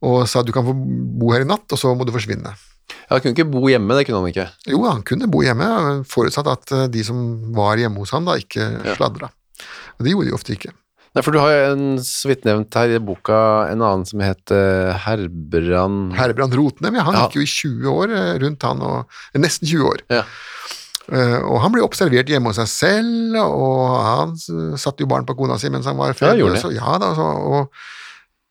og sa du kan få bo her i natt, og så må du forsvinne.
Ja, han kunne ikke bo hjemme, det kunne han ikke.
Jo, han kunne bo hjemme, forutsatt at eh, de som var hjemme hos ham, da ikke sladra. Og det gjorde de ofte ikke.
Nei, for du har jo en så vidt nevnt her i boka en annen som heter eh, Herbrand
Herbrand Rotnem, ja, han
Mm. Ja.
gikk jo i 20 år eh, rundt han, og, nesten 20 år.
Ja.
Eh, Og han ble observert hjemme hos seg selv, og han eh, satte jo barn på kona si mens han var
Ja, gjorde
fredløs. og- Ja, da, så, og,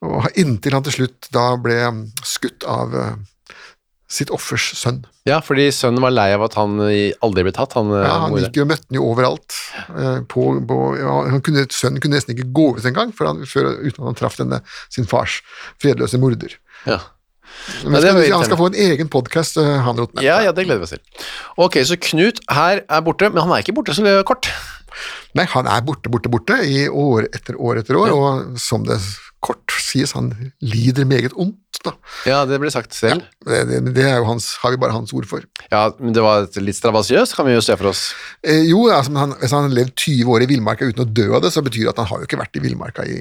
og inntil han til slutt da ble mm, skutt av eh, sitt offers sønn.
Ja, fordi sønnen var lei av at han eh, aldri ble tatt, han, eh,
Ja, han
moren.
gikk jo møtte han jo overalt. eh, På, på, ja, han kunne, sønnen kunne nesten ikke gå ut engang før han, før, uten at han traff denne sin fars fredløse morder.
Ja.
Men
det er
skal,
jo
han skal få en egen podkast, han Rotne.
Ja, ja, det gleder vi oss til. Ok, så Knut her er borte, men han er ikke borte så kort.
Nei, han er borte, borte, borte i år etter år etter år, og som det kort sies, han lider meget ondt, da.
Ja, det ble sagt selv.
Det, det, det er jo hans, har vi bare hans ord for.
Ja, men det var et litt strabasiøst, kan vi jo se for oss.
Eh, jo, altså, men han, hvis han har levd 20 år i villmarka uten å dø av det, så betyr det at han har jo ikke vært i villmarka i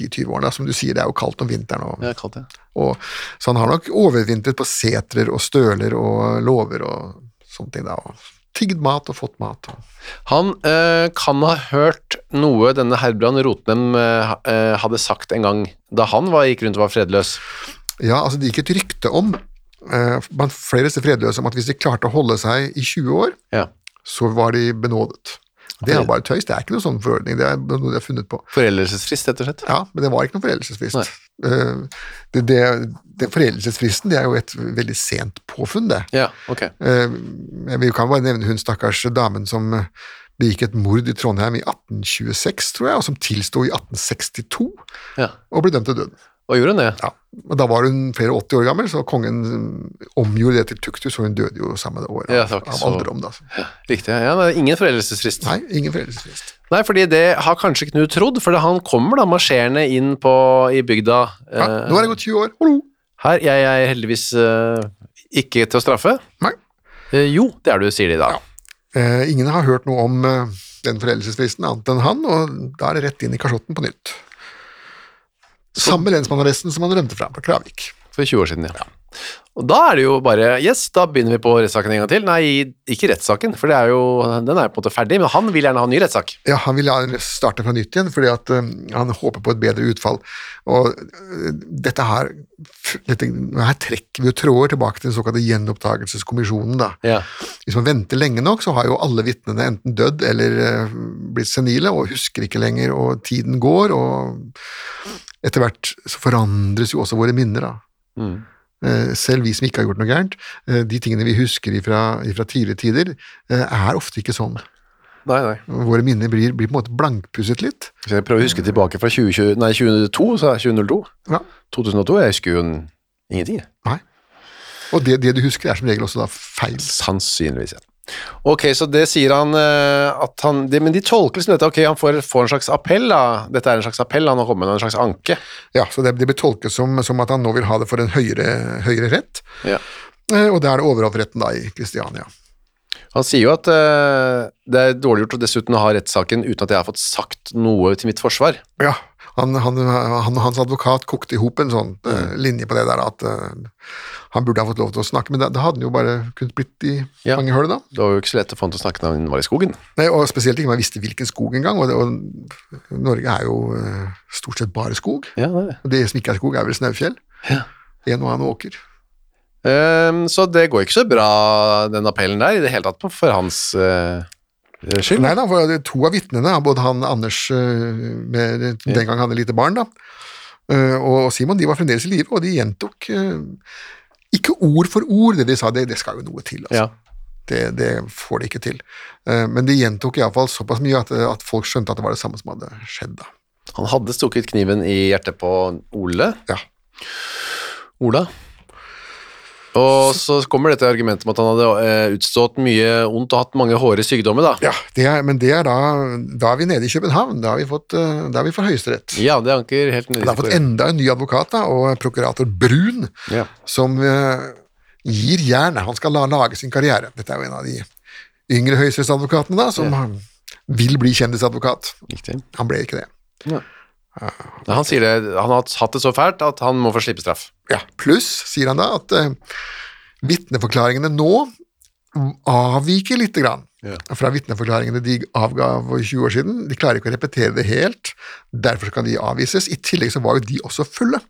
de 20 årene. Som du sier, det er jo kaldt om vinteren, og,
Ja, kalt det.
og, så han har nok overvintret på setrer og støler og låver og sånne ting, da. Og tigd mat og fått mat. Og.
Han eh, kan ha hørt noe denne Herbrand Rotnem eh, ha- eh, hadde sagt en gang da han var, gikk rundt og var fredløs.
Ja, altså det gikk et rykte om, eh, blant flere fredløse, om at hvis de klarte å holde seg i 20 år,
Ja.
så var de benådet. Det er jo bare tøys, det er ikke noe sånn forordning, det er noe de har funnet på.
Foreldelsesfrist, rett og slett.
Ja, men det var ikke noen foreldelsesfrist. Eh, Det, det, den foreldelsesfristen det er jo et veldig sent påfunn, det.
Ja, ok.
Eh, Jeg vil- kan bare nevne hun stakkars damen som eh, begikk et mord i Trondheim i 1826, tror jeg, og som tilsto i 1862
Ja.
og ble dømt til døden.
Og gjorde hun det?
Ja. Og Da var hun flere og 80 år gammel, så kongen mm, omgjorde det til tukthus, og hun døde jo samme år av,
Ja, det var ikke
av
så-
alderdom. Da.
Riktig. Ja, det er ingen foreldelsesfrist.
Nei, ingen foreldelsesfrist.
Nei, fordi det har kanskje Knut trodd, for han kommer da marsjerende inn på, i bygda.
Ja,
eh,
nå har det gått 20 år. Hallo!
Her, jeg er heldigvis eh, ikke til å straffe.
Nei.
Eh, jo, det er du, sier de da.
Eh, ingen har hørt noe om eh, den foreldelsesfristen annet enn han, og da er det rett inn i kasjotten på nytt. Samme lensmannsarresten som han rømte fra på Kravik.
For 20 år siden, ja. Og da er det jo bare Yes, da begynner vi på rettssaken en gang til. Nei, ikke rettssaken, for det er jo, den er jo på en måte ferdig, men han vil gjerne ha en ny rettssak.
Ja, Han ville ha- starte fra nytt igjen, fordi at eh, han håper på et bedre utfall. Og eh, dette her, dette, her trekker vi jo tråder tilbake til den såkalte gjenopptakelseskommisjonen. da.
Ja.
Hvis man venter lenge nok, så har jo alle vitnene enten dødd eller eh, blitt senile og husker ikke lenger, og tiden går, og etter hvert så forandres jo også våre minner, da. Eh, Selv vi som ikke har gjort noe gærent, eh, de tingene vi husker ifra, ifra tidligere tider, eh, er ofte ikke sånn.
Nei, nei.
Våre minner blir, blir på en måte blankpusset litt.
Hvis jeg prøver å huske tilbake fra 2020, nei, 2002, så er det 2002.
Ja.
2002, jeg husker jo en, ingenting. jeg.
Nei. Og det, det du husker, er som regel også da feil.
Sannsynligvis, ja. Ok, så det sier han eh, at han det, Men de tolker liksom dette. Ok, han får, får en slags appell, da. Dette er en slags appell, han har kommet med en slags anke.
Ja, så det, det blir tolket som, som at han nå vil ha det for en høyere, høyere rett,
Ja.
eh, og det er det overholdretten da i Kristiania.
Han sier jo at eh, det er dårlig gjort å dessuten å ha rettssaken uten at jeg har fått sagt noe til mitt forsvar.
Ja, han, han, han og hans advokat kokte i hop en sånn eh, linje på det der at eh, han burde ha fått lov til å snakke, men da, da hadde han jo bare kunnet blitt i
Ja.
fangehullet, da.
Det var jo ikke så lett å få han til å snakke når han var i skogen.
Nei, og spesielt ikke man visste hvilken skog engang, og, det- og Norge er jo eh, stort sett bare skog.
Ja, det er det.
Og det som ikke er skog, er vel snaufjell. En og annen åker.
Ehm, så det går ikke så bra, den appellen der, i det hele tatt, på- for hans eh, skyld.
Nei da, for det er to av vitnene, både han Anders eh, med, den gang han hadde lite barn, da, eh, og Simon, de var fremdeles i live, og de gjentok eh, ikke ord for ord det de sa, det, det skal jo noe til. altså.
Ja.
Det, det får de ikke til. Eh, Men de gjentok iallfall såpass mye at, at folk skjønte at det var det samme som hadde skjedd. da.
Han hadde stukket kniven i hjertet på Ole.
Ja.
Ola. Og så kommer dette argumentet om at han hadde eh, utstått mye ondt og hatt mange hårde sykdommer, da.
Ja, det er, Men det er da da er vi nede i København. Da har vi fått, eh, da er vi for Høyesterett.
Ja, det anker helt nedi
Da har vi fått enda en ny advokat, da, og prokurator Brun,
Ja.
som eh, gir jernet. Han skal la, lage sin karriere. Dette er jo en av de yngre høyesterettsadvokatene da, som vil bli kjendisadvokat.
Riktig.
Han ble ikke det.
Nei, Han sier det, han har hatt det så fælt at han må få slippe straff.
Ja. Pluss, sier han da, at uh, vitneforklaringene nå avviker lite grann fra vitneforklaringene de avga for 20 år siden. De klarer ikke å repetere det helt, derfor skal de avvises. I tillegg så var jo de også fulle,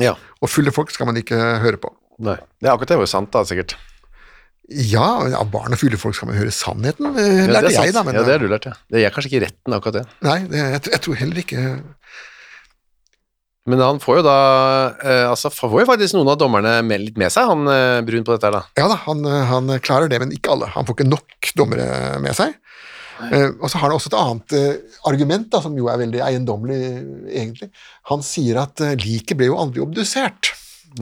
Ja.
og fulle folk skal man ikke høre på.
Nei. Det er akkurat det var jo sant, da, sikkert.
Ja, av barn og fulle folk skal man høre sannheten, eh,
Ja,
lærte
det er sant.
jeg da. Men,
ja, det har du lært, ja. Det er kanskje ikke retten, akkurat det.
Nei, det, jeg, jeg tror heller ikke
Men han får jo da eh, altså, får jo faktisk noen av dommerne med, litt med seg, han eh, Brun på dette her, da.
Ja da, han, han klarer det, men ikke alle. Han får ikke nok dommere med seg. Eh, og så har han også et annet eh, argument, da, som jo er veldig eiendommelig, eh, egentlig. Han sier at eh, liket ble jo aldri obdusert.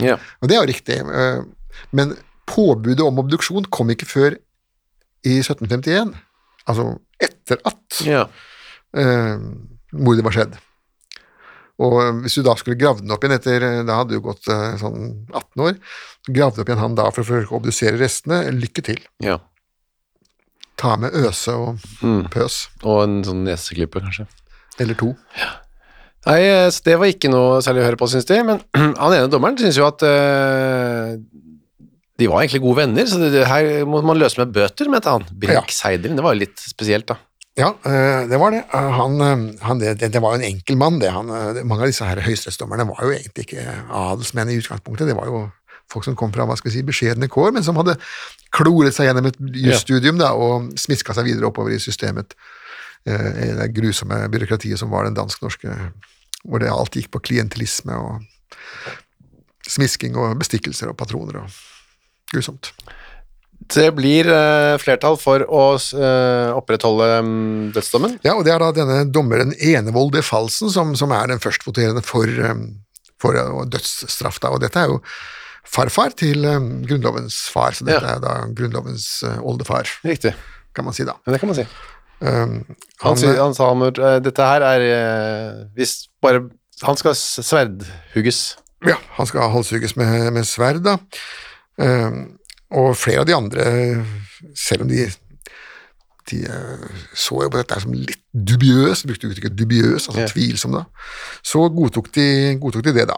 Ja.
Og det er jo riktig, eh, men påbudet om obduksjon kom ikke før i 1751. Altså etter at
ja.
eh, mordet var skjedd. Og eh, hvis du da skulle gravd den opp igjen etter Da hadde du gått eh, sånn 18 år. Gravd opp igjen han da for å forsøke å obdusere restene. Lykke til.
ja.
Ta med Øse og Pøs.
Og en sånn neseklipper, kanskje.
Eller to.
Nei, eh, så det var ikke noe særlig å høre på, syns de. Men [CLEARS THROAT] han ene dommeren syns jo at eh, de var egentlig gode venner, så det, det her må man løse med bøter, mente han.
Ja.
Birk Seidel, det var jo litt spesielt, da.
Ja, eh, det var det. Eh, Han, eh, han, det, det var jo en enkel mann, det. Han, eh, det- mange av disse her høyesterettsdommerne var jo egentlig ikke adelsmenn i utgangspunktet. Det var jo folk som kom fra hva skal vi si, beskjedne kår, men som hadde kloret seg gjennom et jusstudium da, og smiska seg videre oppover i systemet. eh, det grusomme byråkratiet som var den dansk-norske, hvor det alt gikk på klientelisme og smisking og bestikkelser og patroner og grusomt.
Det blir eh, flertall for å eh, opprettholde mm, dødsdommen.
Ja, og det er da denne dommeren Enevold de Falsen som, som er den førstvoterende for, um, for uh, dødsstraff. Da. Og dette er jo farfar til um, Grunnlovens far, så dette
Ja.
er da Grunnlovens uh, oldefar,
Riktig.
kan man si da.
Ja, Det kan man si.
Um,
Han,
han,
sier- han sa han, eh, dette her er eh, hvis bare Han skal s- sverdhugges.
ja, han skal halshugges med, med sverd, da. Um, og flere av de andre, selv om de de eh, så jo på dette her som litt dubiøst, brukte uttrykket dubiøs, altså
Ja.
tvilsom, da. Så godtok de, godtok de det, da.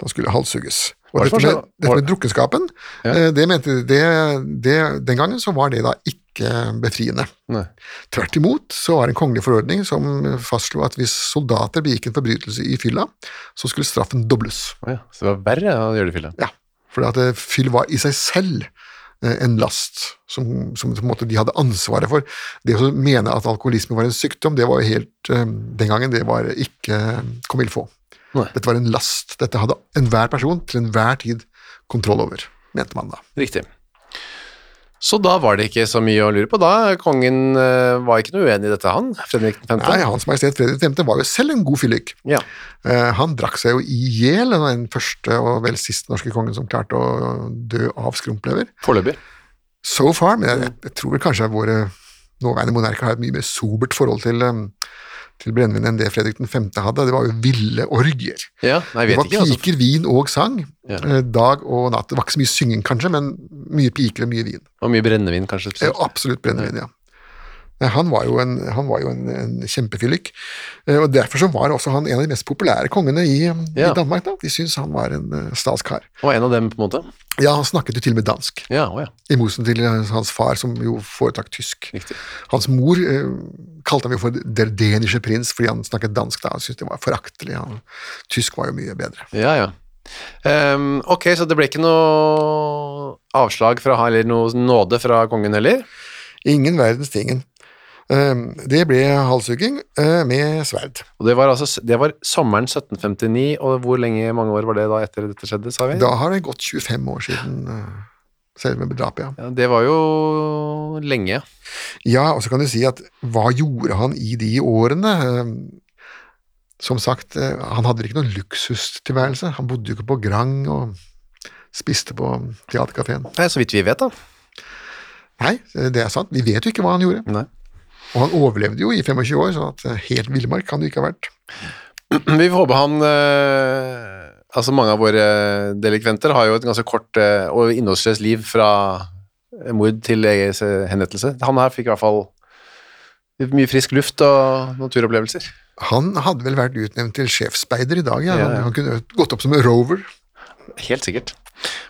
Da skulle halshugges. Og
Hva er det
dette
som
med,
skjer da?
dette
Hva-
med drukkenskapen,
Ja.
eh, det mente de det, det, Den gangen så var det da ikke befriende.
Nei.
Tvert imot så var det en kongelig forordning som fastslo at hvis soldater begikk en forbrytelse i fylla, så skulle straffen dobles.
Å ja. Så det var verre å gjøre det fylla.
Ja, for at eh, fyll var i seg selv eh, en last som, som på en måte de hadde ansvaret for. Det å mene at alkoholisme var en sykdom, det var jo helt eh, Den gangen det var ikke eh, kom ille få.
Nei.
Dette var en last. Dette hadde enhver person til enhver tid kontroll over, mente man da.
Riktig. Så da var det ikke så mye å lure på. Da kongen eh, var ikke noe uenig i dette, han. Fredrik 5.
Nei, Hans Majestet Fredrik 5. var jo selv en god fyllik.
Ja.
Eh, Han drakk seg jo i hjel, han var den første og vel siste norske kongen som klarte å dø av skrumplever.
Foreløpig.
So far, men jeg, jeg tror vel kanskje våre nåværende monarker har et mye mer sobert forhold til, um, til brennevin enn det Fredrik 5. hadde. Det var jo ville orgier.
Ja, nei,
Det
jeg
var
vet ikke. Altså.
piker, vin og sang,
Ja.
eh, dag og natt. Det var ikke så mye synging kanskje, men mye piker og mye vin.
Og mye brennevin, kanskje.
Eh,
spesielt.
Absolutt brennevin, ja. Nei, Han var jo en, han var jo en, en kjempefyllik, Eh, og derfor så var også han en av de mest populære kongene i, um,
Ja.
i Danmark. da. De syntes han var en eh, staskar.
Og en av dem, på en måte.
Ja, han snakket jo til og med dansk.
Ja, å ja.
I mosen til eh, hans far, som jo foretrakk tysk.
Riktig.
Hans mor eh, kalte ham jo for der denische prins fordi han snakket dansk da. Han syntes det var foraktelig. Han, tysk var jo mye bedre.
Ja, ja. Ehm, ok, så det ble ikke noe avslag fra, eller noe nåde fra kongen heller?
Ingen verdens tingen. Ehm, det ble halshugging eh, med sverd.
Og det var, altså, det var sommeren 1759, og hvor lenge, mange år var det da etter dette skjedde, sa vi?
Da har det gått 25 år siden eh, selve drapet, ja.
Ja, det var jo lenge.
Ja, og så kan du si at hva gjorde han i de årene? Ehm, Som sagt, eh, han hadde ikke noen luksustilværelse. Han bodde jo ikke på Grand og spiste på teaterkafeen.
Nei, så vidt vi vet, da.
Nei, eh, det er sant. Vi vet jo ikke hva han gjorde.
Nei.
Og han overlevde jo i 25 år, så at eh, helt villmark kan det jo ikke ha vært.
Vi får håpe han eh, Altså, mange av våre delikventer har jo et ganske kort eh, og innholdsløst liv fra mord til eh, henrettelse. Han her fikk i hvert fall mye frisk luft og naturopplevelser.
Han hadde vel vært utnevnt til sjefsspeider i dag, ja.
Ja, ja.
Han, han kunne gått opp som en rover.
Helt sikkert.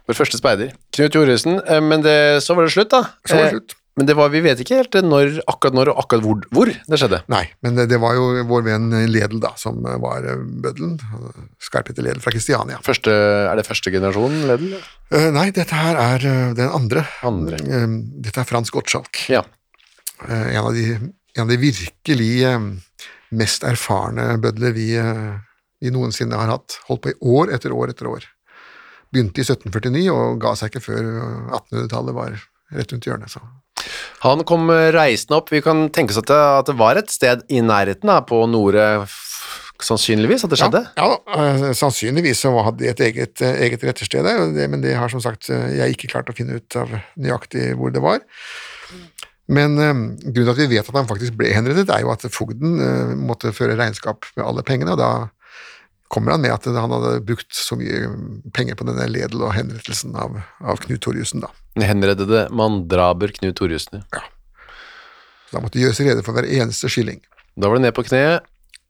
Vår første speider. Knut Joresen. eh, Men det, så var det slutt, da.
Så var det
Eh,
slutt.
Men det var, vi vet ikke helt når, akkurat når og akkurat hvor, hvor det skjedde.
Nei, men eh, det, det var jo vår venn Ledel, da, som eh, var eh, bøddelen. eh, Skarpheter Ledel fra Kristiania.
Første, er det første generasjon Ledel?
Eh, nei, dette her er eh, den andre.
Andre.
Eh, dette er Frans Gottschalk.
Ja.
Eh, en, av de, en av de virkelig eh, mest erfarne bødler vi, eh, vi noensinne har hatt. Holdt på i år etter år etter år. Begynte i 1749 og ga seg ikke før eh, 1800-tallet var rett rundt hjørnet. Så.
Han kom eh, reisende opp. Vi kan tenke oss at det, at det var et sted i nærheten, da, på Nore, f- sannsynligvis, at det skjedde.
Ja, ja eh, sannsynligvis så hadde de et eget, eh, eget rettersted der, og det- men det har som sagt eh, jeg ikke klart å finne ut av nøyaktig hvor det var. Men eh, grunnen til at vi vet at han faktisk ble henrettet, er jo at fogden eh, måtte føre regnskap med alle pengene, og da kommer han med at han hadde brukt så mye penger på denne ledel og henrettelsen av, av Knut Torjussen, da.
Den henreddede mandraber Knut Torjussen.
Så da måtte det gjøres rede for hver eneste skilling.
Da var det ned på kne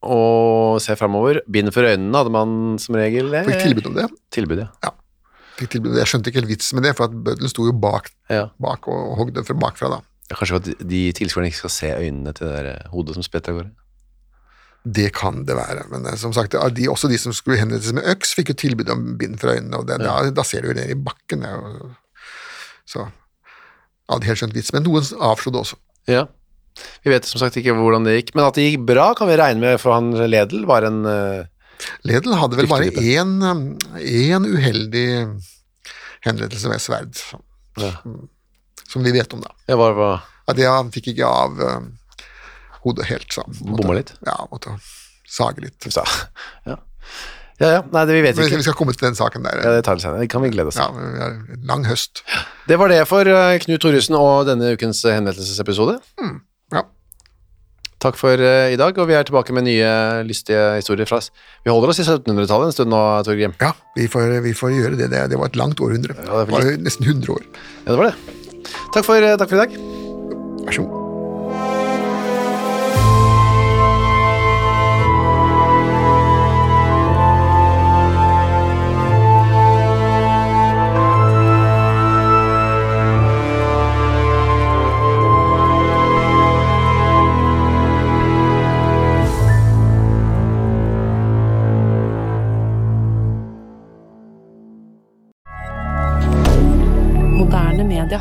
og se framover. Bind for øynene hadde man som regel. eh,
Fikk tilbud om det.
Tilbud, ja.
Fikk tilbud. Jeg skjønte ikke helt vitsen med det, for at bøddelen sto jo bak,
ja.
bak og hogde fra bakfra, da.
Kanskje for at de tilskuerne ikke skal se øynene til det der eh, hodet som spetter av gårde.
Det kan det være, men eh, som sagt, de, også de som skulle henrettes med øks, fikk jo tilbud om bind for øynene, og det, da, da ser du jo ned i bakken. det er jo- Så jeg hadde helt skjønt vits, men noen avslo det også.
Ja. Vi vet som sagt ikke hvordan det gikk, men at det gikk bra kan vi regne med, for han Ledel var en eh,
Ledel hadde vel bare
Dyktig
én én uheldig henrettelse med sverd, som, som vi vet om, da.
Jeg var, var
Ja, det han fikk ikke av eh, hodet helt, så han måtte-
Bomma litt?
Ja, måtte sage litt.
sa. [LAUGHS] Ja. ja, ja. Nei, det vi vet
Men
ikke.
vi skal komme til den saken der.
Ja, det tar vi senere. Det kan vi glede oss til.
Ja, vi har en lang høst.
Det var det for eh, Knut Thoresen og denne ukens eh, henvendelsesepisode.
Ja.
Takk for eh, i dag, og vi er tilbake med nye lystige historier fra oss. Vi holder oss i 1700-tallet en stund nå, Torgrim.
Ja, vi får, vi får gjøre det. det. Det var et langt århundre.
Ja, det er
det var nesten 100 år.
Ja, det var det. Takk for, eh, takk for i dag.
Vær så god.
Moderne media.